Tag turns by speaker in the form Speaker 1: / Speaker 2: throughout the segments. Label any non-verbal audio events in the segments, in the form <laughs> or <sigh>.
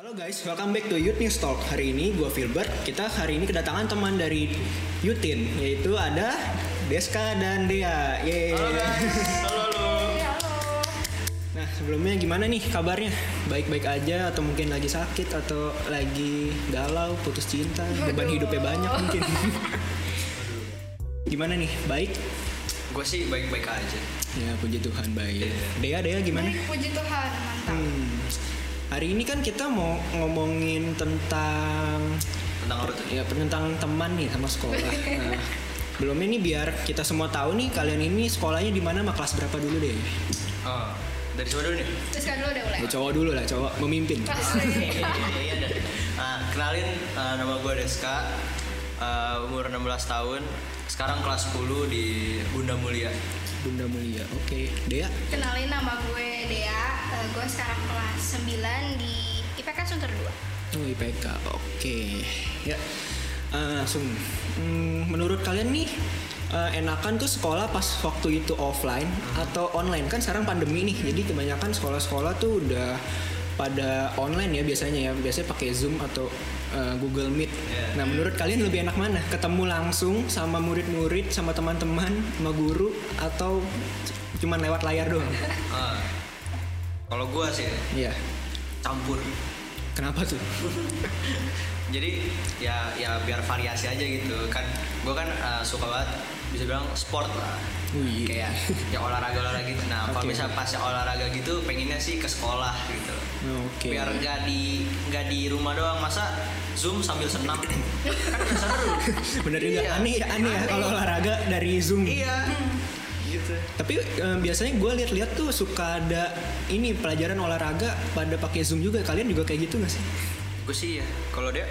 Speaker 1: Halo guys, welcome back to Youth News Talk. Hari ini gue Filbert. Kita hari ini kedatangan teman dari Yutin, yaitu ada Deska dan Dea. Yeay. <laughs>
Speaker 2: Halo, halo.
Speaker 1: Nah sebelumnya gimana nih kabarnya? Baik-baik aja atau mungkin lagi sakit atau lagi galau, putus cinta, beban hidupnya banyak mungkin. <laughs> gimana nih? Baik?
Speaker 2: Gue sih baik-baik aja.
Speaker 1: Ya puji Tuhan baik. Dea, Dea gimana?
Speaker 3: Baik, puji Tuhan, mantap.
Speaker 1: Hmm. Hari ini kan kita mau ngomongin tentang
Speaker 2: Tentang apa tuh?
Speaker 1: ya tentang teman nih sama sekolah. Nah, belum ini biar kita semua tahu nih kalian ini sekolahnya di mana sama kelas berapa dulu deh.
Speaker 2: Ah, dari siapa dulu nih?
Speaker 3: Terus kan dulu udah mulai.
Speaker 1: Ya, cowok dulu lah, cowok memimpin.
Speaker 2: <laughs>
Speaker 3: Pasti.
Speaker 2: Iya, iya, iya, dah. Ah, kenalin ah, nama gue Deska. Ah, umur 16 tahun. Sekarang kelas 10 di Bunda Mulia.
Speaker 1: Bunda Mulia. Oke, Dea.
Speaker 3: Kenalin nama gue Dea, Eh, gue sekarang kelas 9 di IPK Sunter 2.
Speaker 1: Oh, IPK. Oke. Ya. Eh, langsung Hmm, menurut kalian nih eh, enakan tuh sekolah pas waktu itu offline atau online kan sekarang pandemi nih jadi kebanyakan sekolah-sekolah tuh udah pada online ya biasanya ya biasanya pakai zoom atau eh, Google Meet.
Speaker 2: Iya.
Speaker 1: Nah menurut kalian lebih enak mana ketemu langsung sama murid-murid sama teman-teman sama guru atau cuman lewat layar <laughs> doang?
Speaker 2: Ah, kalau gue sih
Speaker 1: Iya.
Speaker 2: campur.
Speaker 1: Kenapa <laughs> tuh?
Speaker 2: Jadi ya ya biar variasi aja gitu kan. Gue kan ah, suka banget bisa bilang sport lah.
Speaker 1: Wih.
Speaker 2: Kayak ya olahraga olahraga gitu. Nah, kalau
Speaker 1: Oke.
Speaker 2: misalnya pas olahraga gitu pengennya sih ke sekolah gitu.
Speaker 1: Oke.
Speaker 2: biar nggak di nggak di rumah doang masa zoom sambil senam kan nggak seru
Speaker 1: Bener juga,
Speaker 2: Iya.
Speaker 1: aneh, aneh ya kalau olahraga dari Zoom.
Speaker 2: iya gitu
Speaker 1: Tapi eh, biasanya gue lihat-lihat tuh suka ada ini pelajaran olahraga pada pakai Zoom juga. Kalian juga kayak gitu gak sih?
Speaker 2: gue sih ya kalau dia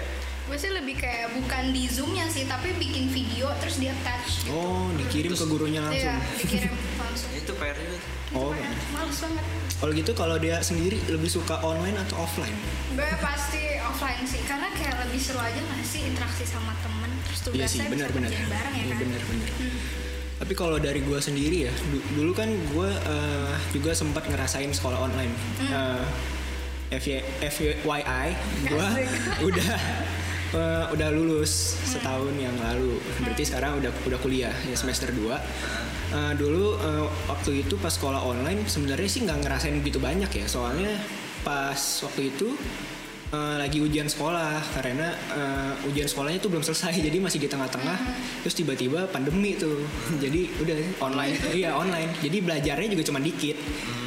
Speaker 3: Gue sih lebih kayak bukan di Zoom-nya sih, tapi bikin video terus di attach. gitu.
Speaker 1: Oh, dikirim ke gurunya langsung.
Speaker 3: Iya,
Speaker 1: <laughs>
Speaker 3: dikirim langsung.
Speaker 2: ya itu PR juga
Speaker 1: Oh,
Speaker 3: Lumayan, Males banget.
Speaker 1: kalau gitu kalau dia sendiri lebih suka online atau offline?
Speaker 3: Gue pasti offline sih, karena kayak lebih seru aja gak sih interaksi sama temen. Terus tugasnya
Speaker 1: Iya sih,
Speaker 3: bisa
Speaker 1: benar-benar.
Speaker 3: kerjain bareng ya
Speaker 1: Iya,
Speaker 3: kan.
Speaker 1: benar-benar. Tapi kalau dari gue sendiri ya, du- dulu kan gue juga sempat ngerasain sekolah online. Eh, FY- FYI, gue <laughs> udah eh, udah lulus setahun yang lalu. Berarti sekarang udah udah kuliah ya semester 2 dulu eh, waktu itu pas sekolah online sebenarnya sih nggak ngerasain begitu banyak ya. Soalnya pas waktu itu eh, lagi ujian sekolah karena eh, ujian sekolahnya tuh belum selesai <laughs> jadi masih di tengah-tengah terus tiba-tiba pandemi tuh <laughs> jadi udah online iya online jadi belajarnya juga cuma dikit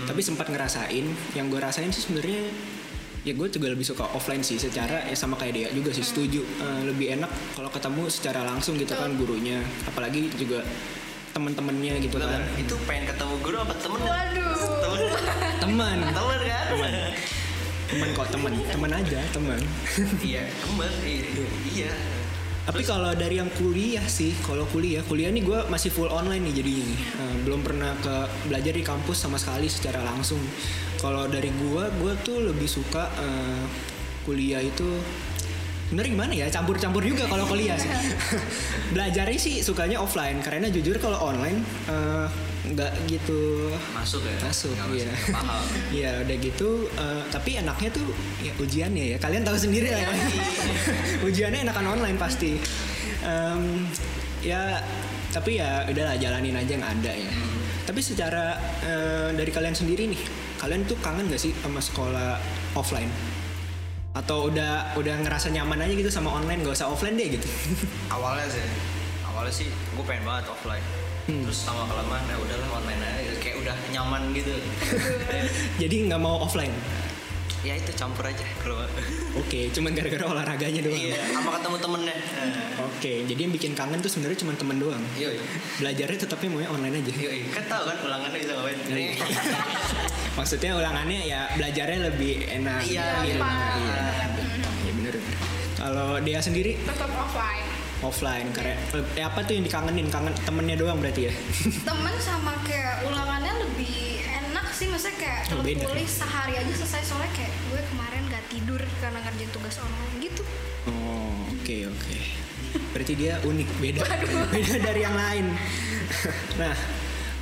Speaker 1: tapi sempat ngerasain yang gue rasain sih sebenarnya ya gue juga lebih suka offline sih secara ya sama kayak dia juga sih setuju Eh, lebih enak kalau ketemu secara langsung gitu kan gurunya apalagi juga teman-temannya gitu kan
Speaker 2: Bener. itu pengen ketemu guru apa temen
Speaker 3: Waduh.
Speaker 2: temen
Speaker 1: teman
Speaker 2: temen kan
Speaker 1: teman kok teman teman aja teman
Speaker 2: <laughs> iya temen iya, iya.
Speaker 1: Tapi kalau dari yang kuliah sih, kalau kuliah, kuliah nih gue masih full online nih jadinya nih. Eh, belum pernah ke belajar di kampus sama sekali secara langsung. Kalau dari gue, gue tuh lebih suka eh, kuliah itu Bener gimana ya campur-campur juga kalau kuliah sih. <laughs> Belajarnya sih sukanya offline karena jujur kalau online eh, nggak gitu
Speaker 2: masuk ya
Speaker 1: Masuk, <laughs>
Speaker 2: Nggak
Speaker 1: iya.
Speaker 2: nggak paham
Speaker 1: Ya udah gitu, eh, tapi enaknya tuh ya ujiannya ya. Kalian tahu sendiri lah. ya.
Speaker 2: Iya,
Speaker 1: <laughs> ujiannya enakan online pasti. Em, ya tapi ya udahlah jalanin aja yang ada ya.
Speaker 2: Hmm.
Speaker 1: Tapi secara eh, dari kalian sendiri nih, kalian tuh kangen gak sih sama sekolah offline? Atau udah udah ngerasa nyaman aja gitu sama online, gak usah offline deh gitu. <laughs>
Speaker 2: awalnya sih awalnya sih gue pengen banget offline terus sama kelamaan ya udahlah online aja kayak udah nyaman gitu
Speaker 1: Jadi nggak mau offline.
Speaker 2: <laughs> ya itu campur aja kalau
Speaker 1: Oke, cuman gara-gara olahraganya doang.
Speaker 2: iya sama ketemu temennya
Speaker 1: Oke, jadi yang bikin kangen tuh sebenarnya cuman temen doang.
Speaker 2: iya
Speaker 1: belajarnya tetapnya maunya online aja
Speaker 2: iya kan tahu kan ulangannya bisa ngapain
Speaker 1: Iya.
Speaker 2: Iya.
Speaker 1: maksudnya ulangannya ya belajarnya lebih enak
Speaker 2: Iya,
Speaker 1: lebih
Speaker 3: Pak.
Speaker 1: enak, iya. ya bener kalau dia sendiri
Speaker 3: Tetap offline.
Speaker 1: offline karena eh, apa tuh yang dikangenin kangen temennya doang berarti ya
Speaker 3: temen sama kayak ulangannya lebih enak sih maksudnya kayak
Speaker 1: Oh,
Speaker 3: kalau
Speaker 1: beda.
Speaker 3: tulis sehari aja selesai soalnya kayak gue kemarin gak tidur karena ngerjain tugas online gitu
Speaker 1: oh oke oke berarti dia unik beda <laughs> beda dari yang lain nah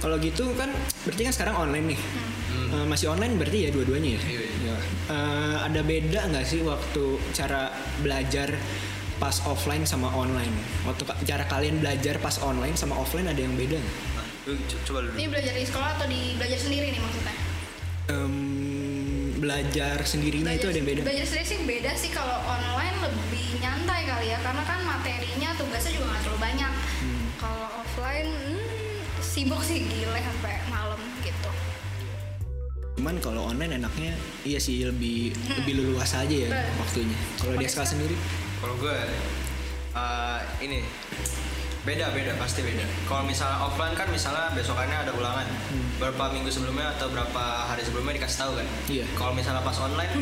Speaker 1: kalau gitu kan berarti kan sekarang online nih Eh, masih online berarti ya dua-duanya ya?
Speaker 2: Iya, iya.
Speaker 1: Ya, eh, ada beda nggak sih waktu cara belajar pas offline sama online? Waktu ka- cara kalian belajar pas online sama offline ada yang beda nggak?
Speaker 2: Nah, lu co- coba lu
Speaker 3: Ini
Speaker 2: dulu.
Speaker 3: belajar di sekolah atau di belajar sendiri nih maksudnya?
Speaker 1: Em, belajar sendirinya itu ada yang beda?
Speaker 3: Belajar sendiri sih beda sih kalau online lebih nyantai kali ya karena kan materinya tugasnya juga nggak terlalu banyak.
Speaker 1: Hmm.
Speaker 3: Kalau offline hmm, sibuk sih gile sampai malam gitu.
Speaker 1: Cuman kalau online enaknya iya sih lebih lebih leluasa aja ya
Speaker 3: Betul.
Speaker 1: waktunya. Kalau di SK sendiri
Speaker 2: Kalau gue eh, ini beda beda pasti beda. Kalau misalnya offline kan misalnya besokannya ada ulangan
Speaker 1: Hmm.
Speaker 2: berapa minggu sebelumnya atau berapa hari sebelumnya dikasih tahu kan.
Speaker 1: Iya.
Speaker 2: Kalau misalnya pas online,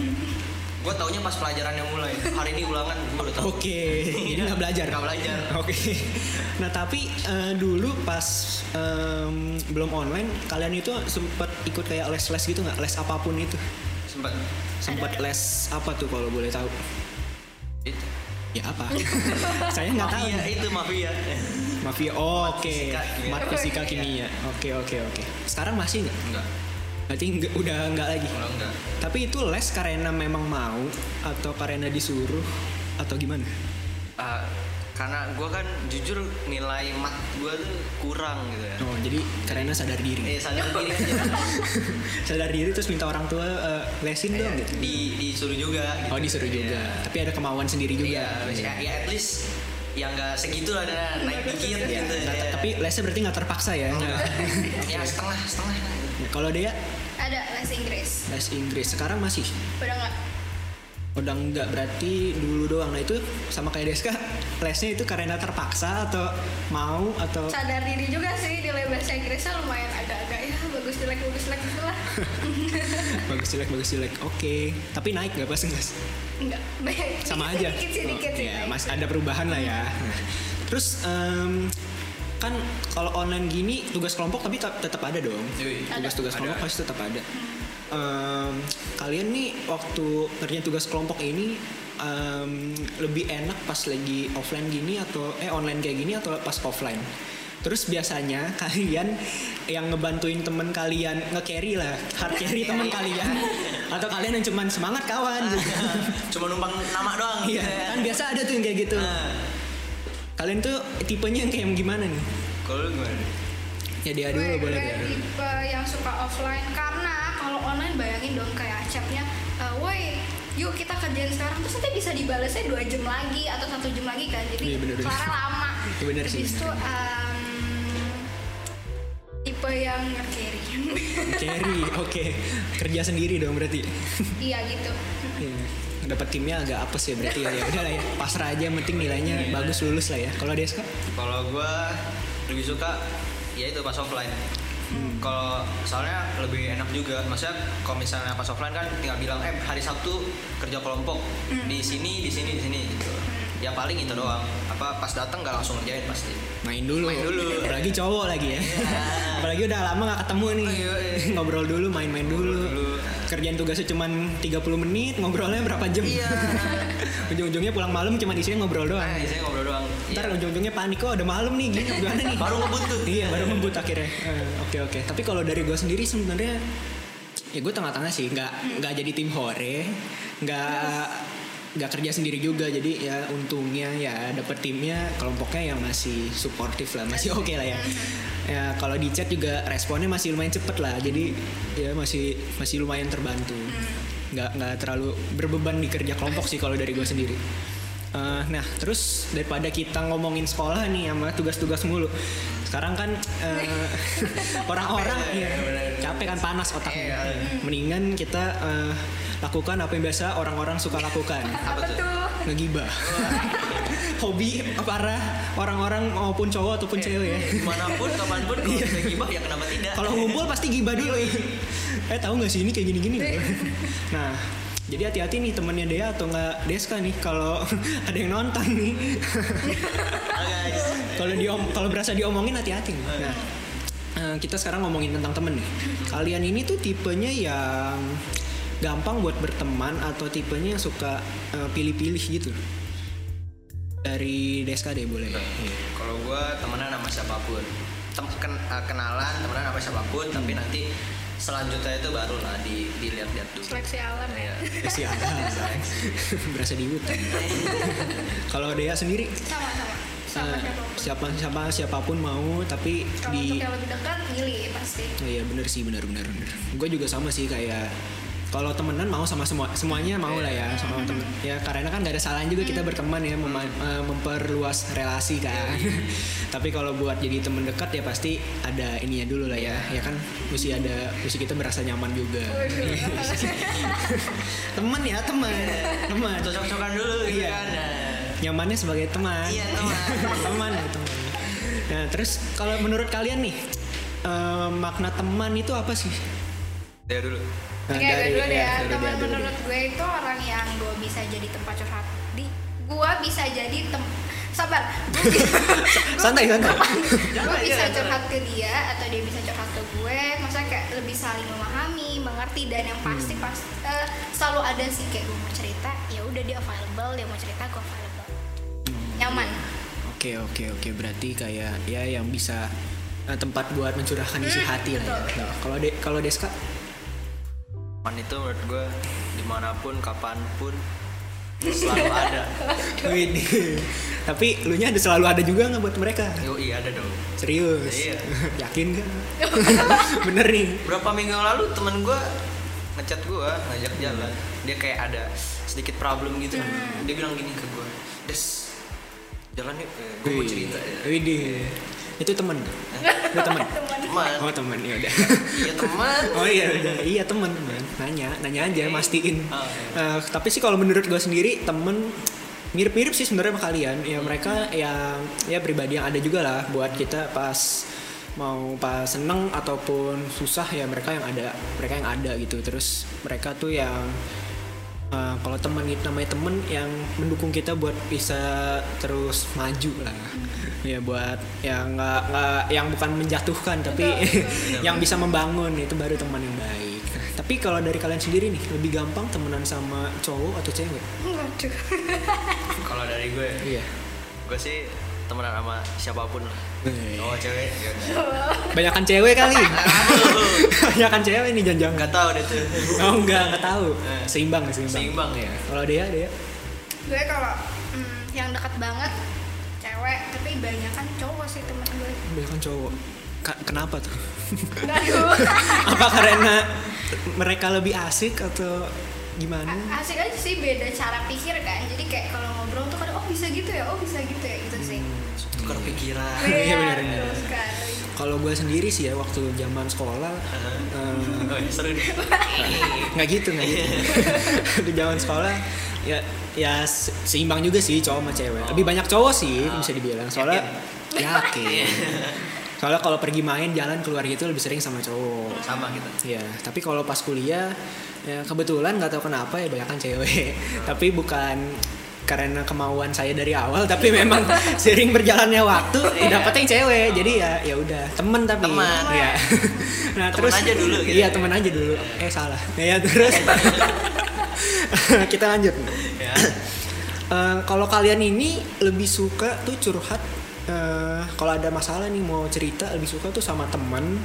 Speaker 2: gue taunya pas pelajaran yang mulai. Hari ini ulangan gue udah tahu.
Speaker 1: Oke, jadi nggak belajar.
Speaker 2: Nggak belajar.
Speaker 1: Oke. Nah tapi eh, dulu pas em, belum online, kalian itu sempat ikut kayak les-les gitu nggak? Les apapun itu?
Speaker 2: Sempat
Speaker 1: Sempat
Speaker 3: Ada.
Speaker 1: les apa tuh kalau boleh tahu?
Speaker 2: itu.
Speaker 1: Ya apa? <laughs> Saya nggak tahu.
Speaker 2: Mafia itu mafia. Eh,
Speaker 1: Mafia. Oh, oke.
Speaker 2: fisika, kimia.
Speaker 1: Mat fisika kimia. Iya. Oke oke oke. Sekarang masih nggak?
Speaker 2: Enggak,
Speaker 1: Berarti nggak- udah nggak lagi.
Speaker 2: ulang enggak.
Speaker 1: Tapi itu les karena memang mau atau karena disuruh atau gimana?
Speaker 2: Eh, karena gue kan jujur nilai mat gue tuh kurang gitu ya.
Speaker 1: Oh jadi karena sadar diri.
Speaker 2: Eh sadar diri
Speaker 1: <laughs>
Speaker 2: aja.
Speaker 1: sadar diri terus minta orang tua eh, lesin dong gitu.
Speaker 2: di disuruh juga gitu.
Speaker 1: Oh disuruh juga,
Speaker 2: Iya.
Speaker 1: tapi ada kemauan sendiri juga. gitu.
Speaker 2: Iya, masih- ya, ya at least yang enggak segitu lah nah, naik dikit
Speaker 1: Iya,
Speaker 2: gitu.
Speaker 1: nggak-
Speaker 2: Iya.
Speaker 1: Tapi lesnya berarti nggak terpaksa ya. <laughs>
Speaker 2: Enggak.
Speaker 1: Nggak.
Speaker 2: ya setengah
Speaker 1: <laughs>
Speaker 2: setengah.
Speaker 1: Nah, Kalau dia
Speaker 3: Ada les Inggris.
Speaker 1: les Inggris sekarang masih
Speaker 3: Udah nggak?
Speaker 1: udah nggak berarti dulu doang. Nah itu sama kayak Deska, lesnya itu karena terpaksa atau mau atau
Speaker 3: Sadar diri juga sih nilai bahasa Inggrisnya lumayan agak-agak ya bagus jelek bagus jelek gitu lah.
Speaker 1: bagus jelek bagus jelek. Oke, tapi naik nggak pas nggak?
Speaker 3: Enggak, <laughs> baik.
Speaker 1: sama
Speaker 3: Dikit-
Speaker 1: aja.
Speaker 3: Dikit sih,
Speaker 1: Oh,
Speaker 3: dikit sih.
Speaker 1: iya,
Speaker 3: baik.
Speaker 1: mas ada perubahan lah ya. Terus em, kan kalau online gini tugas kelompok tapi te- tetap ada dong.
Speaker 2: Yui.
Speaker 3: Ada.
Speaker 1: Tugas-tugas
Speaker 2: Ada.
Speaker 1: kelompok pasti tetap ada. Em, kalian nih waktu ngerjain tugas kelompok ini em, lebih enak pas lagi offline gini atau eh online kayak gini atau pas offline? Terus biasanya <laughs> kalian yang ngebantuin temen kalian nge-carry lah, hard carry temen kalian atau kalian yang cuman semangat kawan gitu.
Speaker 2: Cuma numpang nama doang.
Speaker 1: Iya,
Speaker 2: gitu ya.
Speaker 1: kan biasa ada tuh yang kayak gitu.
Speaker 2: Nah,
Speaker 1: Kalian tuh tipenya yang kayak gimana nih?
Speaker 2: kalau lu gimana?
Speaker 1: Ya dia
Speaker 3: gue,
Speaker 1: dulu boleh
Speaker 3: gue
Speaker 1: dia dulu.
Speaker 3: tipe yang suka offline karena kalau online bayangin dong kayak acapnya eh woi yuk kita kerjain sekarang terus nanti bisa dibalasnya dua jam lagi atau satu jam lagi kan jadi
Speaker 1: Iya, bener-bener.
Speaker 3: kelar lama
Speaker 1: Iya, bener sih,
Speaker 3: Habis itu
Speaker 1: bener.
Speaker 3: em, tipe yang ngerkerin
Speaker 1: Carry, oke. Kerja sendiri dong berarti.
Speaker 3: <laughs> iya gitu
Speaker 1: Iya. Dapat timnya agak apes ya berarti ya. Ya Udah lah ya, pasrah aja yang penting nilainya
Speaker 2: Iya.
Speaker 1: bagus lulus lah ya. Kalau Deska?
Speaker 2: Kalau gue lebih suka ya itu pas offline.
Speaker 1: Hmm.
Speaker 2: Kalau soalnya lebih enak juga. Maksudnya kalau misalnya pas offline kan tinggal bilang eh hari Sabtu kerja kelompok
Speaker 1: Hmm.
Speaker 2: di sini di sini di sini gitu. Ya paling itu doang. Apa pas datang nggak langsung ngerjain pasti.
Speaker 1: Main dulu.
Speaker 2: Main dulu. Iya.
Speaker 1: Apalagi cowok lagi ya. Apalagi udah lama gak ketemu nih.
Speaker 2: Oh, iya, iya.
Speaker 1: Ngobrol dulu, main-main dulu.
Speaker 2: Ngobrol dulu.
Speaker 1: Kerjaan tugasnya cuman 30 menit, ngobrolnya berapa jam.
Speaker 2: Iya.
Speaker 1: <laughs> Ujung-ujungnya pulang malam cuma isinya ngobrol doang.
Speaker 2: Nah, biasanya ngobrol doang.
Speaker 1: Ntar
Speaker 2: Iya.
Speaker 1: ujung-ujungnya panik kok udah malam nih gini gimana nih?
Speaker 2: Baru ngebuntut.
Speaker 1: iya baru ngebut akhirnya. Eh, Oke oke. Tapi kalau dari gue sendiri sebenarnya ya gue tengah-tengah sih. Nggak nggak jadi tim hore, nggak nggak kerja sendiri juga. Jadi ya untungnya ya dapet timnya kelompoknya yang masih suportif lah, masih oke lah ya. Ya kalau di chat juga responnya masih lumayan cepet lah. Jadi ya masih masih lumayan terbantu. Nggak nggak terlalu berbeban di kerja kelompok sih kalau dari gue sendiri. Eh, nah, terus daripada kita ngomongin sekolah nih sama tugas-tugas mulu. Sekarang kan
Speaker 2: <laughs>
Speaker 1: eh, orang-orang
Speaker 2: Capek,
Speaker 1: ya,
Speaker 2: iya, bener.
Speaker 1: capek kan panas otaknya.
Speaker 2: Iya, iya.
Speaker 1: Mendingan kita eh, lakukan apa yang biasa orang-orang suka lakukan.
Speaker 3: apa
Speaker 2: tuh?
Speaker 3: tuh
Speaker 1: Ngegibah.
Speaker 2: <laughs>
Speaker 1: Hobi para orang-orang maupun cowok
Speaker 2: Iya.
Speaker 1: ataupun cewek ya. <laughs>
Speaker 2: Dimanapun, kapanpun kalau bisa gibah ya kenapa tidak?
Speaker 1: Iya. Kalau ngumpul pasti gibah dulu. eh tahu nggak sih ini kayak gini-gini?
Speaker 2: Iya.
Speaker 1: nah, jadi hati-hati nih temennya Dea atau nggak Deska nih kalau <laughs> ada yang nonton nih.
Speaker 2: <laughs> Ah, guys.
Speaker 1: kalau diom kalau berasa diomongin hati-hati nih. Nah, eh, kita sekarang ngomongin tentang temen nih. Kalian ini tuh tipenya yang gampang buat berteman atau tipenya yang suka eh, pilih-pilih gitu. Dari Deska deh boleh. Iya.
Speaker 2: Kalau
Speaker 1: Hmm.
Speaker 2: gue temenan sama siapapun, Tem- ken- eh, kenalan temenan sama siapapun, tapi nanti selanjutnya itu baru lah di dilihat-lihat dulu
Speaker 3: seleksi alam ya
Speaker 2: Iya.
Speaker 1: Eh, siapa? <laughs> Berasa di <laughs> hutan. Kalau Dea sendiri
Speaker 3: sama sama sama
Speaker 1: eh,
Speaker 3: siapapun.
Speaker 1: siapa siapa siapapun mau tapi
Speaker 3: kalau untuk
Speaker 1: di
Speaker 3: yang lebih dekat milih pasti
Speaker 1: <laughs>
Speaker 3: <laughs>
Speaker 1: Oh iya bener sih bener bener bener. Gue juga sama sih kayak kalau temenan mau sama semua semuanya mau lah ya sama temen ya karena kan gak ada salahnya juga kita berteman ya mema- eh, memperluas relasi kan <laughs> tapi kalau buat jadi temen dekat ya pasti ada ininya dulu lah ya ya kan mesti ada mesti kita berasa nyaman juga
Speaker 3: Waduh.
Speaker 1: teman ya teman teman
Speaker 2: cocok-cocokan dulu gitu
Speaker 1: Iya.
Speaker 2: kan Nah.
Speaker 1: nyamannya sebagai teman
Speaker 2: Iya, teman.
Speaker 1: <laughs> teman ya, teman nah terus kalau menurut kalian nih eh, makna teman itu apa sih
Speaker 2: Dea Iya dulu
Speaker 1: Nah,
Speaker 3: Oke, gue dulu deh ya.
Speaker 1: dari-
Speaker 3: Teman
Speaker 1: dari-
Speaker 3: menurut gue itu orang yang gue bisa jadi tempat curhat. Di, gue bisa jadi tem sabar. Gue bisa-
Speaker 1: Santai,
Speaker 2: <laughs>
Speaker 1: santai.
Speaker 3: Gue
Speaker 2: Jangan,
Speaker 3: bisa
Speaker 2: jangan,
Speaker 3: curhat ke dia atau dia bisa curhat ke gue. Maksudnya kayak lebih saling memahami, mengerti dan yang pasti pas eh, selalu ada sih kayak gue mau cerita, ya udah dia available, dia mau cerita gue available. Nyaman.
Speaker 1: Oke oke oke berarti kayak ya yang bisa eh, tempat buat mencurahkan isi
Speaker 2: Hmm,
Speaker 1: hati lah ya. Nah, kalau de kalau Deska
Speaker 2: Man itu menurut gue dimanapun kapanpun selalu
Speaker 1: <laughs>
Speaker 2: ada
Speaker 1: Widih. <laughs> tapi lu nya ada selalu ada juga nggak buat mereka
Speaker 2: Yoi iya, ada dong
Speaker 1: serius
Speaker 2: Iya.
Speaker 1: <laughs> yakin
Speaker 2: <laughs>
Speaker 1: kan bener nih
Speaker 2: berapa minggu yang lalu temen gue ngechat gue ngajak jalan dia kayak ada sedikit problem gitu dia bilang gini ke gue des jalan yuk gue mau
Speaker 1: Wih.
Speaker 2: cerita ya
Speaker 1: Widih. itu temen itu temen
Speaker 2: teman
Speaker 1: oh temen ya udah <laughs>
Speaker 2: ya teman
Speaker 1: Oh iya udah. iya temen temen nanya nanya aja mastiin.
Speaker 2: Ah.
Speaker 1: Eh, tapi sih kalau menurut gue sendiri temen mirip-mirip sih sebenarnya sama kalian ya mereka yang ya pribadi yang ada juga lah buat kita pas mau pas seneng ataupun susah ya mereka yang ada mereka yang ada gitu terus mereka tuh yang eh, kalau teman itu namanya temen yang mendukung kita buat bisa terus maju lah ya buat yang nggak nggak- yang bukan menjatuhkan tapi <laughs> yang bisa membangun itu baru teman yang baik tapi kalau dari kalian sendiri nih lebih gampang temenan sama cowok atau cewek
Speaker 3: Waduh.
Speaker 2: kalau dari gue
Speaker 1: iya
Speaker 2: gue sih temenan sama siapapun lah oh cewek ya udah.
Speaker 1: Banyakan cewek
Speaker 2: <laughs>
Speaker 1: kali Banyakan cewek nih jangan-jangan
Speaker 2: nggak tahu deh tuh
Speaker 1: oh enggak enggak tahu
Speaker 2: Eh.
Speaker 1: seimbang seimbang,
Speaker 2: seimbang ya
Speaker 1: kalau dia dia
Speaker 3: Gue kalau mm, yang dekat banget cewek, tapi banyak kan cowok sih temen gue.
Speaker 1: banyakan cowok Ka- kenapa tuh <laughs>
Speaker 3: Aduh.
Speaker 1: apa karena mereka lebih asik atau gimana?
Speaker 3: A- asik aja sih beda cara pikir kan jadi kayak kalau ngobrol tuh kadang oh bisa gitu ya oh bisa gitu ya gitu sih kan.
Speaker 2: tukar pikiran
Speaker 1: <laughs> Iya, benar,
Speaker 3: betul
Speaker 1: benar.
Speaker 3: sekali.
Speaker 1: Hmm, Kalau gue sendiri sih ya waktu zaman sekolah eh,
Speaker 2: Oh, ya, seru deh
Speaker 1: nggak gitu nggak gitu. <laughs> Waktu zaman sekolah ya ya se- seimbang juga sih cowok sama cewek. Lebih banyak cowok sih
Speaker 2: Ah.
Speaker 1: bisa dibilang. Soalnya yakin.
Speaker 2: <laughs>
Speaker 1: Soalnya kalau pergi main jalan keluar gitu lebih sering sama cowok.
Speaker 2: sama kita
Speaker 1: Ya, tapi kalau pas kuliah ya kebetulan nggak tahu kenapa ya banyakkan cewek. <laughs> tapi bukan karena kemauan saya dari awal tapi
Speaker 2: Iya.
Speaker 1: memang
Speaker 2: <laughs>
Speaker 1: sering berjalannya waktu dapetnya yang cewek. Jadi ya ya udah, temen tapi.
Speaker 2: Teman. <laughs>
Speaker 1: Ya. nah,
Speaker 2: Temen
Speaker 1: terus
Speaker 2: aja dulu gitu
Speaker 1: Iya,
Speaker 2: ya.
Speaker 1: temen aja dulu. Eh salah. <laughs> Ya
Speaker 2: <laughs>
Speaker 1: terus kita lanjut.
Speaker 2: ya
Speaker 1: Eh, kalau kalian ini lebih suka tuh curhat eh, kalau ada masalah nih mau cerita lebih suka tuh sama teman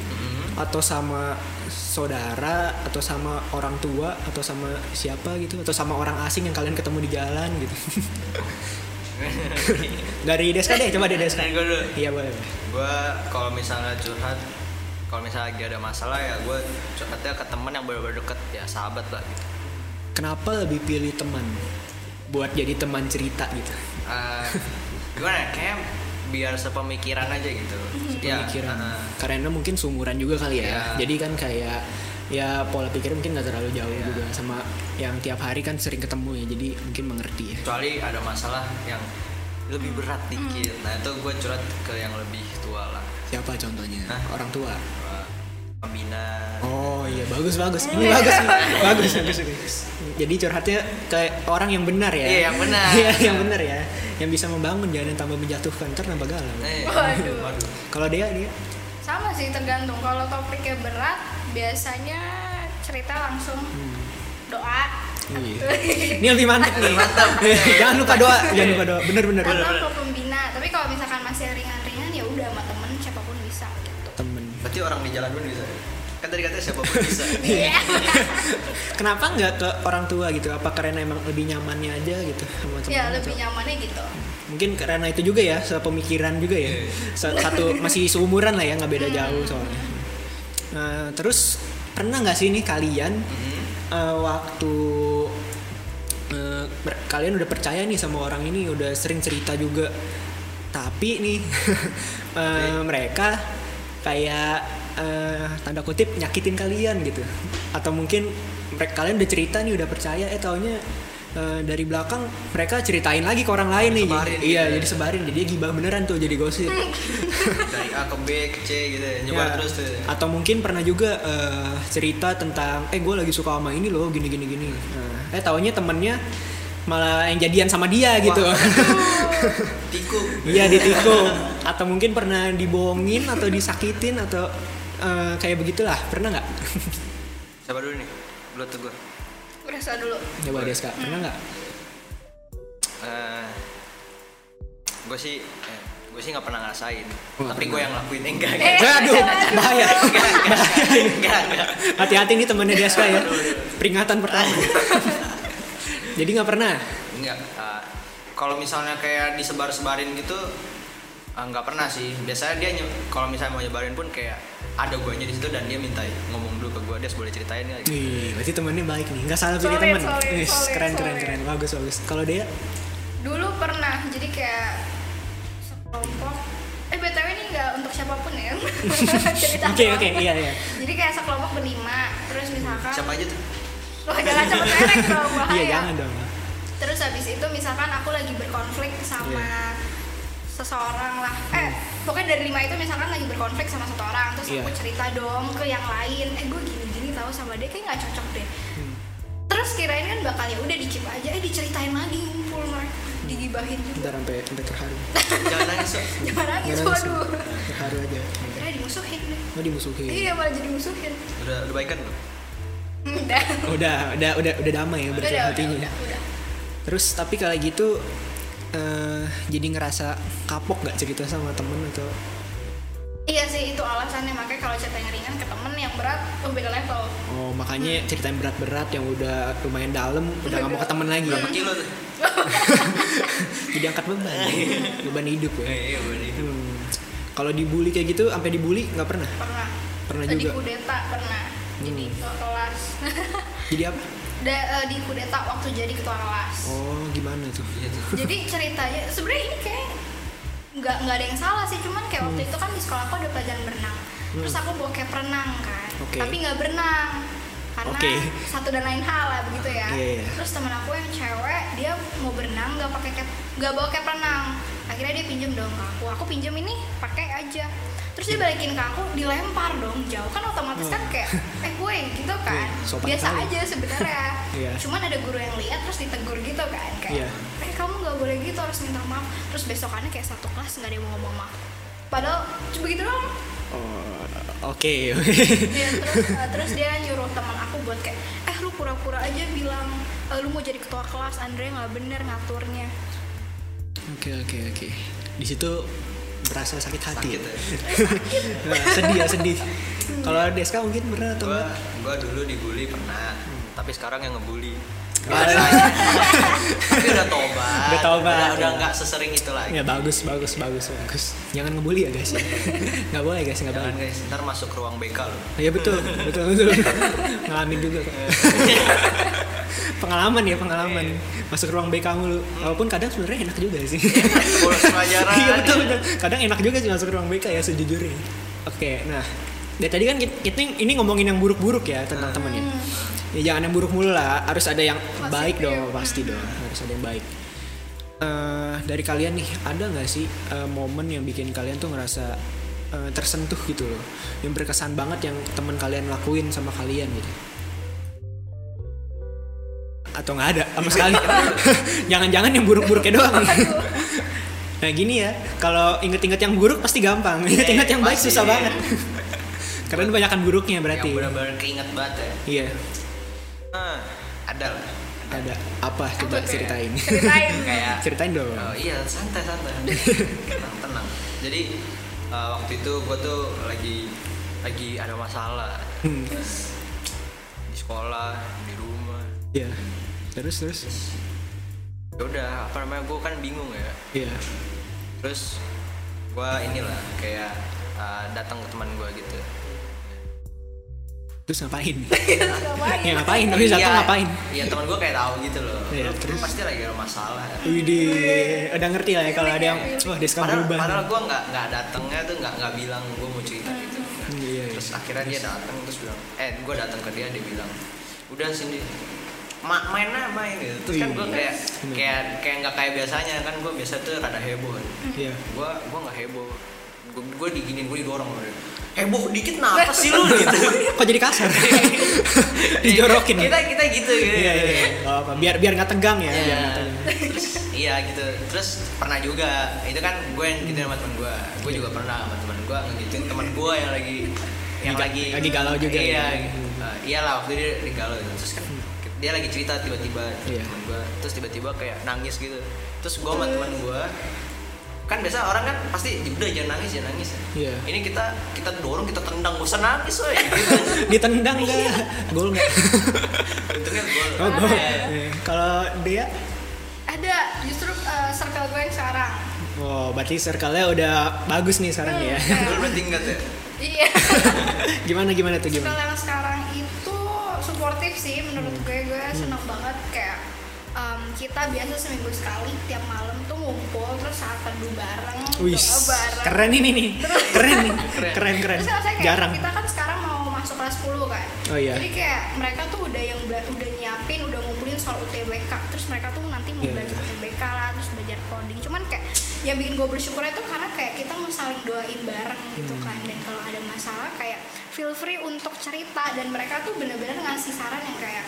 Speaker 1: atau sama saudara atau sama orang tua atau sama siapa gitu atau sama orang asing yang kalian ketemu di jalan gitu dari Deska deh coba deh Deska
Speaker 2: Dari gua dulu.
Speaker 1: iya boleh boleh.
Speaker 2: gue kalau misalnya curhat kalau misalnya lagi ada masalah ya gue curhatnya ke teman yang benar-benar deket ya sahabat lah gitu.
Speaker 1: kenapa lebih pilih teman buat jadi teman cerita gitu <laughs>
Speaker 2: Eh, gimana ya, kayak biar sepemikiran aja gitu ya,
Speaker 1: pemikiran
Speaker 2: eh,
Speaker 1: karena mungkin sumuran juga kali ya
Speaker 2: Iya.
Speaker 1: jadi kan kayak ya pola pikir mungkin nggak terlalu jauh juga sama yang tiap hari kan sering ketemu ya jadi mungkin mengerti ya
Speaker 2: kecuali ada masalah yang lebih berat
Speaker 1: Mm.
Speaker 2: dikit nah itu gue curhat ke yang lebih tua lah
Speaker 1: siapa contohnya
Speaker 2: Hah?
Speaker 1: orang tua
Speaker 2: Eh, pembina
Speaker 1: oh iya bagus bagus ini bagus nih. bagus bagus bagus. jadi curhatnya ke orang yang benar ya
Speaker 2: Iya, yang benar.
Speaker 1: Iya, yang benar ya yang bisa membangun jangan yang tambah menjatuhkan ntar nambah galau
Speaker 2: eh,
Speaker 3: Waduh.
Speaker 1: kalau dia dia
Speaker 3: sama sih tergantung kalau topiknya berat biasanya cerita langsung doa
Speaker 1: Hmm.
Speaker 3: <laughs>
Speaker 1: Iya. ini lebih mantap nih <laughs> jangan lupa doa jangan lupa doa bener bener, bener.
Speaker 3: atau ke pembina tapi kalau misalkan masih ringan-ringan ya udah sama temen siapapun bisa gitu
Speaker 1: temen
Speaker 2: berarti orang di jalan pun bisa kan tadi katanya siapa pun
Speaker 1: <laughs>
Speaker 2: bisa
Speaker 3: Iya.
Speaker 1: Kenapa nggak ke orang tua gitu? Apa karena emang lebih nyamannya aja gitu sama teman?
Speaker 3: <laughs> ya lebih nyamannya gitu
Speaker 1: Mungkin karena itu juga ya, sepemikiran juga ya. Sa- Satu masih seumuran lah ya, nggak beda jauh soalnya. Nah, terus pernah nggak sih nih kalian eh, waktu eh, ber- kalian udah percaya nih sama orang ini, udah sering cerita juga, tapi nih <laughs> eh, mereka kayak eh, tanda kutip nyakitin kalian gitu, atau mungkin mereka kalian udah cerita nih udah percaya, eh taunya eh, dari belakang mereka ceritain lagi ke orang lain nih,
Speaker 2: Sebarin,
Speaker 1: iya
Speaker 2: gitu. Hmm.
Speaker 1: jadi sebarin, jadi gibah beneran tuh jadi gosip.
Speaker 2: dari A ke B ke C gitu ya. nyebar
Speaker 1: Ya,
Speaker 2: terus tuh
Speaker 1: Atau mungkin pernah juga eh, cerita tentang eh gue lagi suka sama ini loh gini gini gini. Nah,
Speaker 2: Hmm.
Speaker 1: eh taunya temennya malah yang jadian sama dia
Speaker 2: <laughs>
Speaker 1: gitu.
Speaker 2: tikung
Speaker 1: Iya ditikung. Atau mungkin pernah dibohongin atau disakitin atau eh, kayak begitulah. Pernah nggak? <laughs>
Speaker 2: siapa dulu nih belum tuh gue
Speaker 3: berasa dulu
Speaker 1: Coba Deska, pernah nggak?
Speaker 2: Eh, gue sih eh, gue sih nggak pernah ngerasain
Speaker 1: Oh, nggak
Speaker 2: tapi gue yang lakuin Eh, enggak enggak
Speaker 3: Eh,
Speaker 1: Waduh, bahaya.
Speaker 2: enggak, <laughs> enggak.
Speaker 1: Hati-hati nih temennya Deska ya. Peringatan
Speaker 2: <laughs>
Speaker 1: pertama. Jadi nggak pernah.
Speaker 2: Enggak. ah, kalau misalnya kayak disebar-sebarin gitu ah, nggak pernah sih. Biasanya dia nye- kalau misalnya mau nyebarin pun kayak ada guanya di situ dan dia minta ngomong dulu ke gua dia boleh ceritain nggak? gitu.
Speaker 1: Wih, berarti temennya baik nih. Nggak salah pilih
Speaker 3: Solid,
Speaker 1: temen.
Speaker 3: solid,
Speaker 1: Wih,
Speaker 3: solid,
Speaker 1: keren, keren,
Speaker 3: solid.
Speaker 1: keren. Bagus, bagus. Kalau dia,
Speaker 3: dulu pernah jadi kayak sekelompok eh btw ini nggak untuk siapapun
Speaker 1: <laughs>
Speaker 3: ya cerita
Speaker 1: oke,
Speaker 3: doang.
Speaker 1: oke, iya, iya.
Speaker 3: jadi kayak sekelompok berlima terus misalkan
Speaker 2: Siapa aja tuh?
Speaker 3: Wah, jangan cepet merek dong bahaya
Speaker 1: <laughs> Iya, jangan dong.
Speaker 3: terus habis itu misalkan aku lagi berkonflik sama
Speaker 1: Iya.
Speaker 3: seseorang lah eh pokoknya dari lima itu misalkan lagi berkonflik sama satu orang terus
Speaker 1: Hmm. Iya.
Speaker 3: aku cerita dong ke yang lain eh gue gini gini tahu sama dia kayak nggak cocok deh
Speaker 1: Hmm,
Speaker 3: terus kirain kan bakal ya udah dicip aja eh diceritain lagi ngumpul Mar. digibahin juga
Speaker 1: Ntar sampai sampai
Speaker 3: <laughs>
Speaker 1: terharu.
Speaker 2: Jangan nangis. Sok.
Speaker 3: jangan nangis
Speaker 1: Jangan nangis.
Speaker 3: waduh
Speaker 1: Terharu aja.
Speaker 3: akhirnya dimusuhin deh
Speaker 1: Mau dimusuhi.
Speaker 3: iya malah jadi musuhin
Speaker 2: Udah udah baikan belum?
Speaker 3: udah
Speaker 1: Udah, udah, udah, udah damai ya
Speaker 3: udah
Speaker 1: berarti
Speaker 3: udah
Speaker 1: hatinya.
Speaker 3: udah, udah.
Speaker 1: Terus tapi kalau gitu eh, jadi ngerasa kapok nggak cerita sama temen atau
Speaker 3: iya sih itu alasannya makanya kalau cerita yang ringan ke temen yang berat oh beda level
Speaker 1: oh makanya
Speaker 3: Hmm.
Speaker 1: cerita yang berat-berat yang udah lumayan dalam udah nggak mau ke temen lagi ya.
Speaker 3: <laughs>
Speaker 2: Berapa kilo tuh?
Speaker 1: jadi angkat beban
Speaker 3: Iya.
Speaker 1: beban hidup ya
Speaker 2: Eh, iya boleh.
Speaker 1: Hmm. kalau dibully kayak gitu sampai dibully nggak pernah
Speaker 3: pernah
Speaker 1: Pernah
Speaker 3: Eh, di
Speaker 1: juga?
Speaker 3: kudeta pernah jadi
Speaker 1: Hmm.
Speaker 3: ketua kelas <laughs>
Speaker 1: jadi apa
Speaker 3: Da- eh, di kudeta waktu jadi ketua kelas
Speaker 1: oh gimana tuh
Speaker 2: Iya tuh.
Speaker 3: jadi ceritanya sebenarnya ini kayak nggak nggak ada yang salah sih cuman kayak
Speaker 1: Hmm.
Speaker 3: waktu itu kan di sekolah aku ada pelajaran berenang terus aku bokep renang kan
Speaker 1: Oke.
Speaker 3: tapi nggak berenang karena
Speaker 1: Oke.
Speaker 3: satu dan lain hal lah begitu ya
Speaker 1: Iya, iya.
Speaker 3: terus teman aku yang cewek dia mau berenang nggak pakai cap nggak bawa cap renang akhirnya dia pinjem dong ke aku aku pinjem ini pakai aja terus dia balikin ke aku dilempar dong jauh kan otomatis kan kayak eh gue
Speaker 1: <laughs>
Speaker 3: gitu kan
Speaker 1: Wih, Hmm. Iya, sopan
Speaker 3: biasa
Speaker 1: sekali.
Speaker 3: aja sebenarnya
Speaker 1: <laughs> Iya.
Speaker 3: cuman ada guru yang lihat terus ditegur gitu kan
Speaker 1: Iya.
Speaker 3: kayak eh kamu nggak boleh gitu harus minta maaf terus besokannya kayak satu kelas nggak ada yang mau ngomong maaf padahal cuma gitu doang
Speaker 1: oh, oke <laughs>
Speaker 3: Iya, terus eh, terus dia nyuruh teman aku buat kayak eh lu pura-pura aja bilang "Eh, lu mau jadi ketua kelas Andre nggak bener ngaturnya
Speaker 1: Oke oke oke. Di situ berasa sakit hati.
Speaker 2: Sakit
Speaker 1: <laughs>
Speaker 2: ya.
Speaker 1: Nah, sedih ya sedih. Kalau Deska mungkin pernah atau
Speaker 2: Gua
Speaker 1: enggak?
Speaker 2: gua dulu dibully pernah, tapi sekarang yang ngebully.
Speaker 1: Waduh.
Speaker 2: tapi udah tobat.
Speaker 1: Udah tobat.
Speaker 2: Udah, udah nggak sesering itu lagi.
Speaker 1: Ya bagus bagus bagus bagus. Jangan ngebully ya guys. <laughs> Nggak boleh guys nggak
Speaker 2: Jangan
Speaker 1: boleh.
Speaker 2: guys, ntar masuk ke ruang BK loh.
Speaker 1: Ya betul betul
Speaker 2: <laughs>
Speaker 1: betul. Ngalamin juga kok. pengalaman ya pengalaman.
Speaker 2: Iya.
Speaker 1: Masuk ruang BK mulu. Walaupun kadang sebenarnya enak juga sih.
Speaker 2: Hmm. Bolos pelajaran.
Speaker 1: <laughs> Iya betul betul. Kadang enak juga sih masuk ruang BK ya sejujurnya. Oke, nah dari tadi kan kita, kita ini ngomongin yang buruk-buruk ya tentang temennya. Ya jangan yang buruk mulu lah, harus ada yang baik dong pasti dong, harus ada yang baik. Eh, dari kalian nih ada nggak sih eh, momen yang bikin kalian tuh ngerasa eh, tersentuh gitu loh, yang berkesan banget yang temen kalian lakuin sama kalian gitu? Atau nggak ada
Speaker 2: Iya.
Speaker 1: sama
Speaker 2: <laughs>
Speaker 1: sekali? Jangan-jangan yang buruk-buruknya doang. Nah gini ya, kalau inget-inget yang buruk pasti gampang, inget-inget yang baik
Speaker 2: Iya, pasti.
Speaker 1: susah banget. Karena kebanyakan buruknya berarti.
Speaker 2: Yang benar-benar keinget banget ya.
Speaker 1: Iya,
Speaker 2: Ah, ada lah.
Speaker 1: ada apa coba
Speaker 3: Apa tuh ya?
Speaker 2: <laughs>
Speaker 1: ceritain?
Speaker 3: ceritain
Speaker 1: <laughs>
Speaker 2: Kayak
Speaker 1: ceritain dong.
Speaker 2: Oh, iya santai
Speaker 1: <laughs>
Speaker 2: santai tenang eh, tenang jadi uh, waktu itu gue tuh lagi lagi ada masalah
Speaker 1: Hmm.
Speaker 3: terus
Speaker 2: di sekolah di rumah
Speaker 1: Iya. Terus terus.
Speaker 2: ya udah apa namanya gue kan bingung ya
Speaker 1: Iya.
Speaker 2: terus gue inilah kayak uh, datang ke teman gue gitu
Speaker 1: Terus
Speaker 2: <laughs>
Speaker 1: ngapain?
Speaker 3: ngapain
Speaker 1: ya ngapain? Tapi satu
Speaker 2: Iya,
Speaker 1: ngapain?
Speaker 2: Iya teman gue kayak tahu gitu loh.
Speaker 1: Iya,
Speaker 2: Lu- lu
Speaker 1: terus?
Speaker 2: pasti lagi ada masalah.
Speaker 1: Widih, udah ngerti lah ya kalau ada yang wah dia sekarang
Speaker 2: Iya. Padahal,
Speaker 1: berubah.
Speaker 2: padahal gue nggak nggak datangnya tuh nggak nggak bilang gue mau cerita gitu.
Speaker 1: Hmm, Iya, iya.
Speaker 2: Terus akhirnya dia datang terus bilang, eh gue datang ke dia dia bilang, udah sini Ma main lah main gitu. Terus kan gue
Speaker 1: Iya.
Speaker 2: kayak
Speaker 1: Bener.
Speaker 2: kayak kayak nggak kayak biasanya kan gue biasa tuh rada heboh.
Speaker 1: Iya. <laughs>
Speaker 2: Gue gue nggak heboh. Gue gue diginin gue didorong. Heboh dikit kenapa
Speaker 1: <laughs>
Speaker 2: sih lu gitu?
Speaker 1: Kok jadi
Speaker 2: <laughs>
Speaker 1: kasar? <laughs> Dijorokin.
Speaker 2: Kita kita gitu gitu.
Speaker 1: Iya, iya. iya. Gak apa, biar biar nggak tegang ya, biar
Speaker 2: Iya.
Speaker 1: nggak tegang.
Speaker 2: Terus, iya gitu terus pernah juga itu kan gue yang gituin sama teman gue gue juga pernah sama teman gue ngegituin teman gue yang lagi yang
Speaker 1: Lagi-
Speaker 2: lagi
Speaker 1: lagi galau juga
Speaker 2: iya
Speaker 1: ya.
Speaker 2: gitu. Eh, iyalah waktu dia lagi galau gitu. terus kan dia lagi cerita tiba-tiba
Speaker 1: Iya.
Speaker 2: teman gue terus tiba-tiba kayak nangis gitu terus gue sama teman gue kan biasa orang kan pasti udah jangan nangis jangan nangis
Speaker 1: Iya.
Speaker 2: ini kita kita dorong kita tendang gak usah nangis
Speaker 1: <laughs>
Speaker 2: woy gitu.
Speaker 1: Ditendang enggak? Gol enggak?
Speaker 2: untungnya gue Eh,
Speaker 1: Oh, gol. Iya. Kalau dia
Speaker 3: ada justru eh, circle gue yang sekarang
Speaker 1: Oh, berarti circle-nya udah bagus nih sekarang ya.
Speaker 3: Hmm.
Speaker 2: gue berarti ingat ya
Speaker 3: iya
Speaker 1: <laughs> gimana gimana tuh
Speaker 3: circle
Speaker 1: gimana?
Speaker 3: yang sekarang itu suportif sih menurut gue gue
Speaker 1: Hmm.
Speaker 3: seneng banget kayak em, kita biasa seminggu sekali tiap malam tuh ngumpul terus saat teduh bareng
Speaker 1: Wih,
Speaker 3: doa bareng
Speaker 1: keren ini nih. Keren nih. Keren keren.
Speaker 3: Terus rasanya kayak
Speaker 1: Jarang.
Speaker 3: kita kan sekarang mau masuk kelas 10 kan.
Speaker 1: Oh, iya.
Speaker 3: Jadi kayak mereka tuh udah yang bela- udah nyiapin, udah ngumpulin soal UTBK. Terus mereka tuh nanti mau
Speaker 1: Iya.
Speaker 3: belajar UTBK lah, terus belajar coding. Cuman kayak yang bikin gue bersyukur itu karena kayak kita mau saling doain bareng
Speaker 1: Hmm.
Speaker 3: gitu kan. Dan kalau ada masalah kayak feel free untuk cerita dan mereka tuh bener-bener ngasih saran yang kayak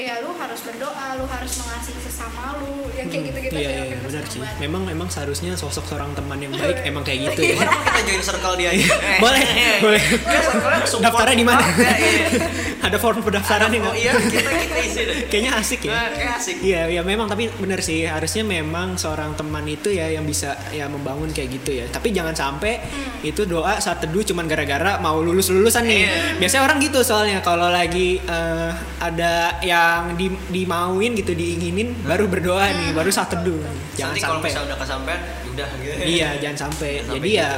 Speaker 3: ya lu harus berdoa, lu harus mengasihi sesama lu, yang kayak gitu-gitu
Speaker 1: Iya,
Speaker 3: sih,
Speaker 1: iya,
Speaker 3: makin
Speaker 1: benar
Speaker 3: seneng
Speaker 1: sih.
Speaker 3: banget.
Speaker 1: Memang memang seharusnya sosok seorang teman yang baik emang kayak gitu ya.
Speaker 2: Gimana kalau Iya. kita join circle dia aja? Eh,
Speaker 1: <laughs> Boleh,
Speaker 2: eh,
Speaker 1: boleh.
Speaker 2: Kan circle-nya support
Speaker 1: Daftarnya di mana?
Speaker 2: kita, iya.
Speaker 1: <laughs> Ada form pendaftaran
Speaker 2: Oh
Speaker 1: enggak?
Speaker 2: iya, kita kita isi deh.
Speaker 1: Kayaknya asik ya.
Speaker 2: Nah, kayak asik.
Speaker 1: Iya, ya memang tapi benar sih harusnya memang seorang teman itu ya yang bisa ya membangun kayak gitu ya. Tapi jangan sampai itu doa saat teduh cuman gara-gara mau lulus lulusan nih.
Speaker 2: Hmm. Iya.
Speaker 1: Biasanya orang gitu soalnya kalau lagi eh, ada yang di, dimauin gitu diinginin baru berdoa nih, baru saat teduh. Jangan
Speaker 2: Hmm. Nanti kalau
Speaker 1: sampai.
Speaker 2: misalnya udah kesampean, udah gitu.
Speaker 1: Iya, jangan sampai.
Speaker 2: Jangan
Speaker 1: Jadi
Speaker 2: sampai
Speaker 1: ya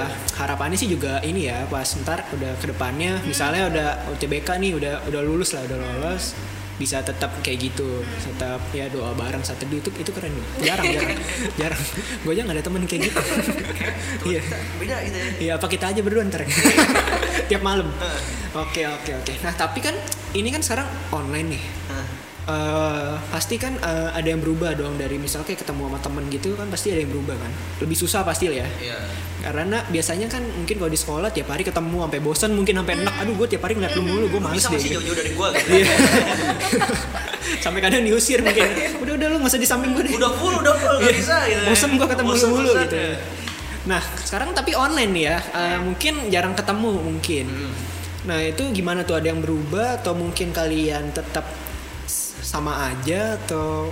Speaker 1: harapannya sih juga ini ya pas ntar udah kedepannya misalnya udah UTBK nih udah udah lulus lah udah lolos bisa tetap kayak gitu tetap ya doa bareng satu itu itu keren loh. jarang <laughs> jarang jarang gue aja nggak ada temen kayak <laughs> gitu iya
Speaker 2: Beda gitu ya.
Speaker 1: Iya apa kita aja berdua <laughs> ntar ya? tiap malam oke oke oke nah tapi kan ini kan sekarang online nih
Speaker 2: Nah,
Speaker 1: Eh, pasti kan eh, ada yang berubah dong dari misalnya kayak ketemu sama temen gitu kan pasti ada yang berubah kan lebih susah pasti lah ya
Speaker 2: Iya.
Speaker 1: karena biasanya kan mungkin kalau di sekolah tiap hari ketemu sampai bosan mungkin sampai enak aduh gue tiap hari ngeliat lu mulu gue
Speaker 2: Lu
Speaker 1: males
Speaker 2: Bisa
Speaker 1: deh
Speaker 2: masih jauh-jauh dari gua gitu.
Speaker 1: Iya. <laughs> sampai kadang diusir mungkin udah udah lu nggak usah di samping gue deh
Speaker 2: Udah full, udah full, gak
Speaker 1: Iya.
Speaker 2: bisa gitu.
Speaker 1: bosan gue ketemu lu
Speaker 2: Bosen,
Speaker 1: mulu
Speaker 2: bosen,
Speaker 1: gitu
Speaker 2: iya.
Speaker 1: nah sekarang tapi online nih ya Eh, mungkin jarang ketemu mungkin
Speaker 2: Hmm.
Speaker 1: nah itu gimana tuh ada yang berubah atau mungkin kalian tetap s- sama aja atau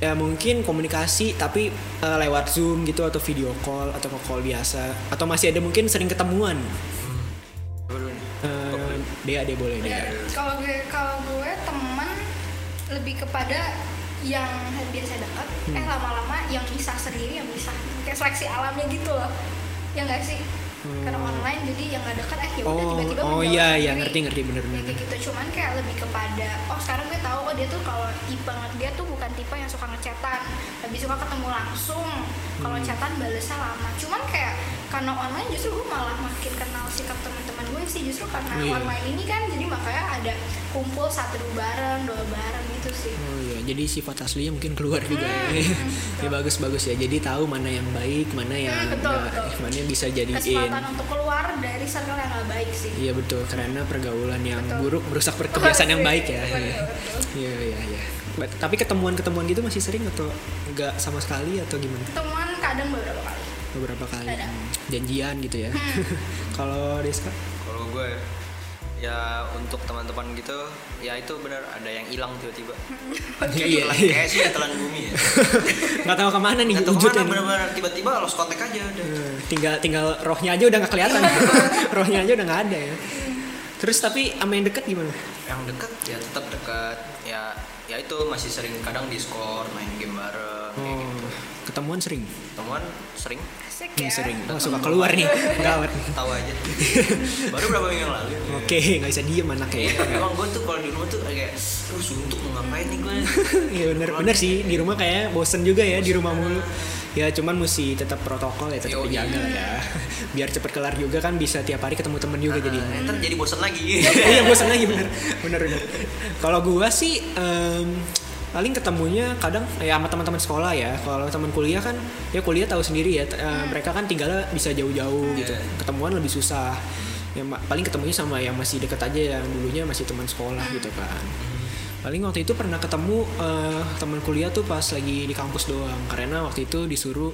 Speaker 1: ya mungkin komunikasi tapi eh, lewat zoom gitu atau video call atau ke call biasa atau masih ada mungkin sering ketemuan
Speaker 2: Coba dulu nih.
Speaker 1: Eh, dia dia boleh
Speaker 3: Ya,
Speaker 1: dia
Speaker 3: kalau gue kalau gue temen lebih kepada yang biasa dekat
Speaker 1: Hmm.
Speaker 3: eh lama-lama yang bisa sendiri yang bisa kayak seleksi alamnya gitu loh ya nggak sih karena online jadi yang nggak dekat eh ya udah
Speaker 1: Hmm. Oh,
Speaker 3: tiba-tiba
Speaker 1: oh
Speaker 3: menjauh
Speaker 1: iya, iya,
Speaker 3: sendiri.
Speaker 1: ngerti, ngerti, bener,
Speaker 3: Ya,
Speaker 1: bener.
Speaker 3: kayak gitu cuman kayak lebih kepada oh sekarang gue tahu oh dia tuh kalau tipe dia tuh bukan tipe yang suka ngechatan lebih suka ketemu langsung kalau
Speaker 1: Hmm.
Speaker 3: chatan balesnya lama cuman kayak karena online justru gue malah makin kenal sikap teman-teman gue sih justru karena
Speaker 1: Iya.
Speaker 3: online ini kan jadi makanya ada kumpul satu bareng doa bareng gitu sih
Speaker 1: Oh iya, jadi sifat aslinya mungkin keluar juga ya. <laughs>
Speaker 3: betul.
Speaker 1: ya bagus-bagus ya. Jadi tahu mana yang baik, mana yang
Speaker 3: Hmm. betul,
Speaker 1: nggak-
Speaker 3: betul.
Speaker 1: mana yang bisa jadiin.
Speaker 3: kesempatan untuk keluar dari circle yang gak baik sih
Speaker 1: Iya betul, karena pergaulan yang
Speaker 3: Betul.
Speaker 1: buruk merusak per- kebiasaan yang baik ya.
Speaker 3: Betul,
Speaker 1: Iya.
Speaker 3: betul.
Speaker 1: Iya iya iya. But- Tapi ketemuan-ketemuan gitu masih sering atau nggak sama sekali atau gimana?
Speaker 3: teman kadang beberapa kali
Speaker 1: Beberapa kali
Speaker 3: Ada. Hmm.
Speaker 1: Hmm, janjian gitu ya. <laughs> Kalau Deska?
Speaker 2: Kalau gue ya untuk teman-teman gitu ya itu benar ada yang hilang tiba-tiba
Speaker 1: Iya
Speaker 2: Telan-
Speaker 1: iya.
Speaker 2: kayak sih ya telan bumi ya
Speaker 1: Nggak tahu kemana nih
Speaker 2: Gak tau
Speaker 1: wujudnya
Speaker 2: kemana
Speaker 1: nih. Hmm,
Speaker 2: bener-bener tiba-tiba lost kontak aja udah
Speaker 3: <laughs>
Speaker 1: Eh, tinggal tinggal rohnya aja udah nggak kelihatan rohnya aja udah nggak ada ya Terus tapi sama yang deket gimana?
Speaker 2: yang deket ya tetap dekat ya ya itu masih sering kadang diskor main game bareng kayak
Speaker 1: Oh,
Speaker 2: gitu
Speaker 1: ketemuan sering.
Speaker 2: temuan sering
Speaker 3: Asik
Speaker 1: Hmm,
Speaker 3: ya.
Speaker 1: sering. Oh, suka keluar
Speaker 3: <laughs>
Speaker 1: nih. Gawat. nih.
Speaker 2: tahu
Speaker 1: <laughs>
Speaker 2: aja baru berapa minggu yang lalu
Speaker 1: Oke, nggak bisa diem anaknya. ya.
Speaker 2: Iya, emang gue tuh kalau di rumah tuh kayak, aduh suntuk mau ngapain nih gue.
Speaker 1: Iya bener, bener sih di rumah kayak bosen juga ya di rumah mulu. Ya cuman mesti tetap protokol ya tetap
Speaker 2: Yoi.
Speaker 1: dijaga lah ya. <laughs> Biar cepet kelar juga kan bisa tiap hari ketemu temen juga jadi.
Speaker 2: Nah, ntar jadi bosan lagi.
Speaker 1: <laughs> Iya bosen lagi bener, bener bener. Kalau gua sih em, paling ketemunya kadang ya sama teman-teman sekolah ya. Kalau teman kuliah kan ya kuliah tahu sendiri ya. t- eh, mereka kan tinggalnya bisa jauh-jauh gitu.
Speaker 2: Iya.
Speaker 1: Ketemuan lebih susah. Ya, ma- paling ketemunya sama yang masih dekat aja yang dulunya masih teman sekolah gitu kan paling waktu itu pernah ketemu eh, teman kuliah tuh pas lagi di kampus doang karena waktu itu disuruh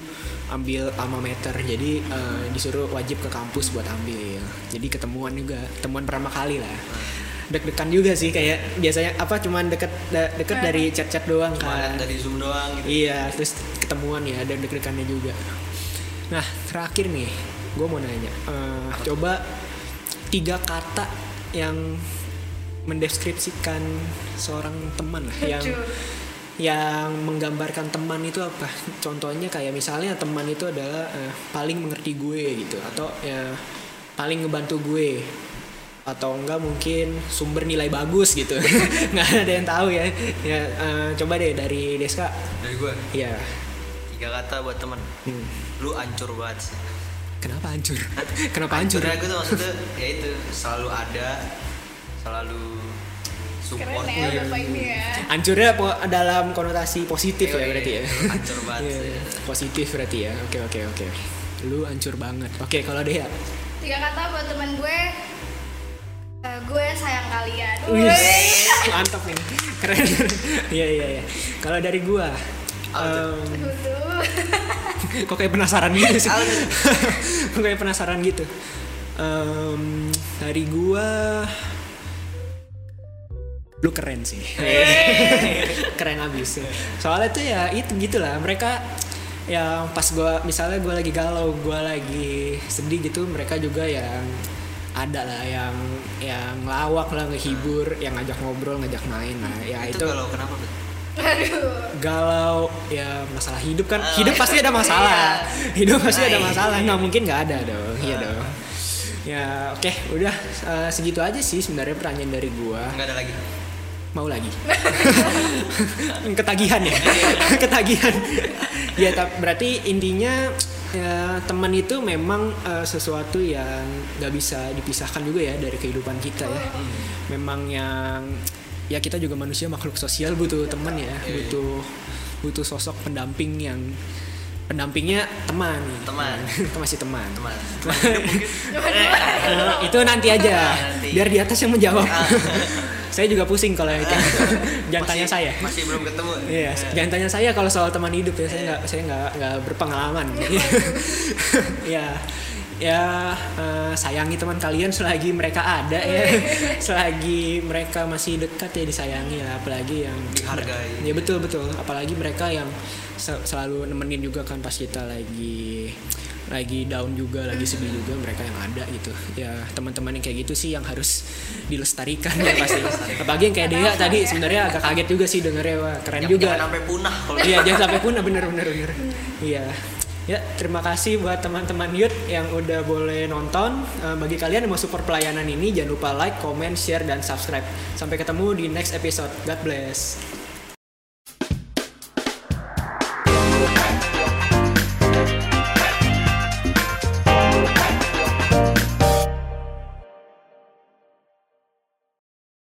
Speaker 1: ambil alma mater jadi eh, disuruh wajib ke kampus buat ambil jadi ketemuan juga ketemuan pertama kali lah deg-degan juga sih kayak biasanya apa cuman deket da- deket dari chat-chat doang
Speaker 2: Cuma lihat
Speaker 1: kan
Speaker 2: dari Zoom doang gitu.
Speaker 1: iya terus ketemuan ya dan deg-degannya juga nah terakhir nih gue mau nanya eh, coba tiga kata yang mendeskripsikan seorang teman lah yang
Speaker 3: Aduh.
Speaker 1: yang menggambarkan teman itu apa contohnya kayak misalnya teman itu adalah eh, paling mengerti gue gitu atau ya paling ngebantu gue atau enggak mungkin sumber nilai bagus gitu <laughs> nggak ada yang tahu ya ya eh, coba deh dari Deska
Speaker 2: Dari gue,
Speaker 1: ya
Speaker 2: tiga kata buat temen.
Speaker 1: hmm.
Speaker 2: Lu ancur banget sih.
Speaker 1: kenapa hancur <laughs> kenapa hancur
Speaker 2: Sebenernya gue tuh maksudnya, ya itu. Selalu ada, selalu
Speaker 3: Keren
Speaker 2: support.
Speaker 3: ya bapak ini ya.
Speaker 1: hancurnya po- dalam konotasi positif ya
Speaker 2: Iya,
Speaker 1: berarti ya
Speaker 2: iya, hancur
Speaker 1: <laughs>
Speaker 2: banget
Speaker 1: Iya,
Speaker 2: sih.
Speaker 1: positif berarti ya oke oke oke lu hancur banget oke kalau Dea
Speaker 3: Tiga kata buat teman gue. eh, gue sayang kalian.
Speaker 1: Wih,
Speaker 3: Wih.
Speaker 1: mantap ini keren <laughs> iya iya iya kalau dari gua em,
Speaker 3: Aduh, tuh.
Speaker 1: <laughs> kok kayak penasaran gitu sih
Speaker 2: Apa tuh?
Speaker 1: <laughs> kok kayak penasaran gitu Em, dari gua lu keren sih <laughs> keren abis soalnya tuh ya itu gitulah mereka yang pas gua misalnya gua lagi galau gua lagi sedih gitu mereka juga yang ada lah yang yang lawak lah ngehibur yang ngajak ngobrol ngajak main lah ya
Speaker 2: Itu
Speaker 1: itu
Speaker 2: kalau kenapa? Bud?
Speaker 3: Aduh.
Speaker 1: galau ya masalah hidup kan
Speaker 2: Ah.
Speaker 1: hidup pasti ada masalah hidup pasti ada
Speaker 2: Nah,
Speaker 1: masalah
Speaker 2: iya.
Speaker 1: nggak mungkin nggak ada dong iya
Speaker 2: Ah.
Speaker 1: dong ya oke udah eh, segitu aja sih sebenarnya pertanyaan dari gua
Speaker 2: Nggak ada lagi.
Speaker 1: mau lagi <laughs> ketagihan ya <laughs> ketagihan ya tap- berarti intinya ya, teman itu memang eh, sesuatu yang nggak bisa dipisahkan juga ya dari kehidupan kita ya memang yang ya kita juga manusia makhluk sosial butuh teman ya butuh butuh sosok pendamping yang pendampingnya teman <laughs>
Speaker 2: Teman.
Speaker 1: masih teman,
Speaker 2: Teman.
Speaker 1: Eh, itu nanti aja
Speaker 2: <laughs> Nanti. Ah.
Speaker 1: biar di atas yang menjawab <laughs> saya juga pusing kalau
Speaker 2: <laughs>
Speaker 1: itu jangan
Speaker 2: Masih-
Speaker 1: tanya saya
Speaker 2: Masih belum ketemu.
Speaker 1: Iya, jangan tanya saya kalau soal teman hidup ya.
Speaker 2: Eh.
Speaker 1: Saya nggak, saya nggak, nggak berpengalaman.
Speaker 2: Iya.
Speaker 1: <laughs> ya, ya eh, sayangi teman kalian selagi mereka ada ya,
Speaker 2: Eh.
Speaker 1: <laughs> selagi mereka masih dekat ya disayangi lah, apalagi yang
Speaker 2: Dihargai.
Speaker 1: Ya betul betul, apalagi mereka yang se- selalu nemenin juga kan pas kita lagi lagi down juga, lagi sedih juga mereka yang ada gitu. Ya teman-teman yang kayak gitu sih yang harus dilestarikan ya pasti. Apalagi yang kayak Dea tadi sebenarnya agak kaget juga sih dengernya wah keren
Speaker 2: Jangan-
Speaker 1: juga.
Speaker 2: Jangan sampai punah kalau
Speaker 1: Iya, jangan sampai punah bener bener bener. Iya. Ya, terima kasih buat teman-teman Youth yang udah boleh nonton. Eh, bagi kalian yang mau support pelayanan ini, jangan lupa like, comment, share, dan subscribe. Sampai ketemu di next episode. God bless.
Speaker 4: Thank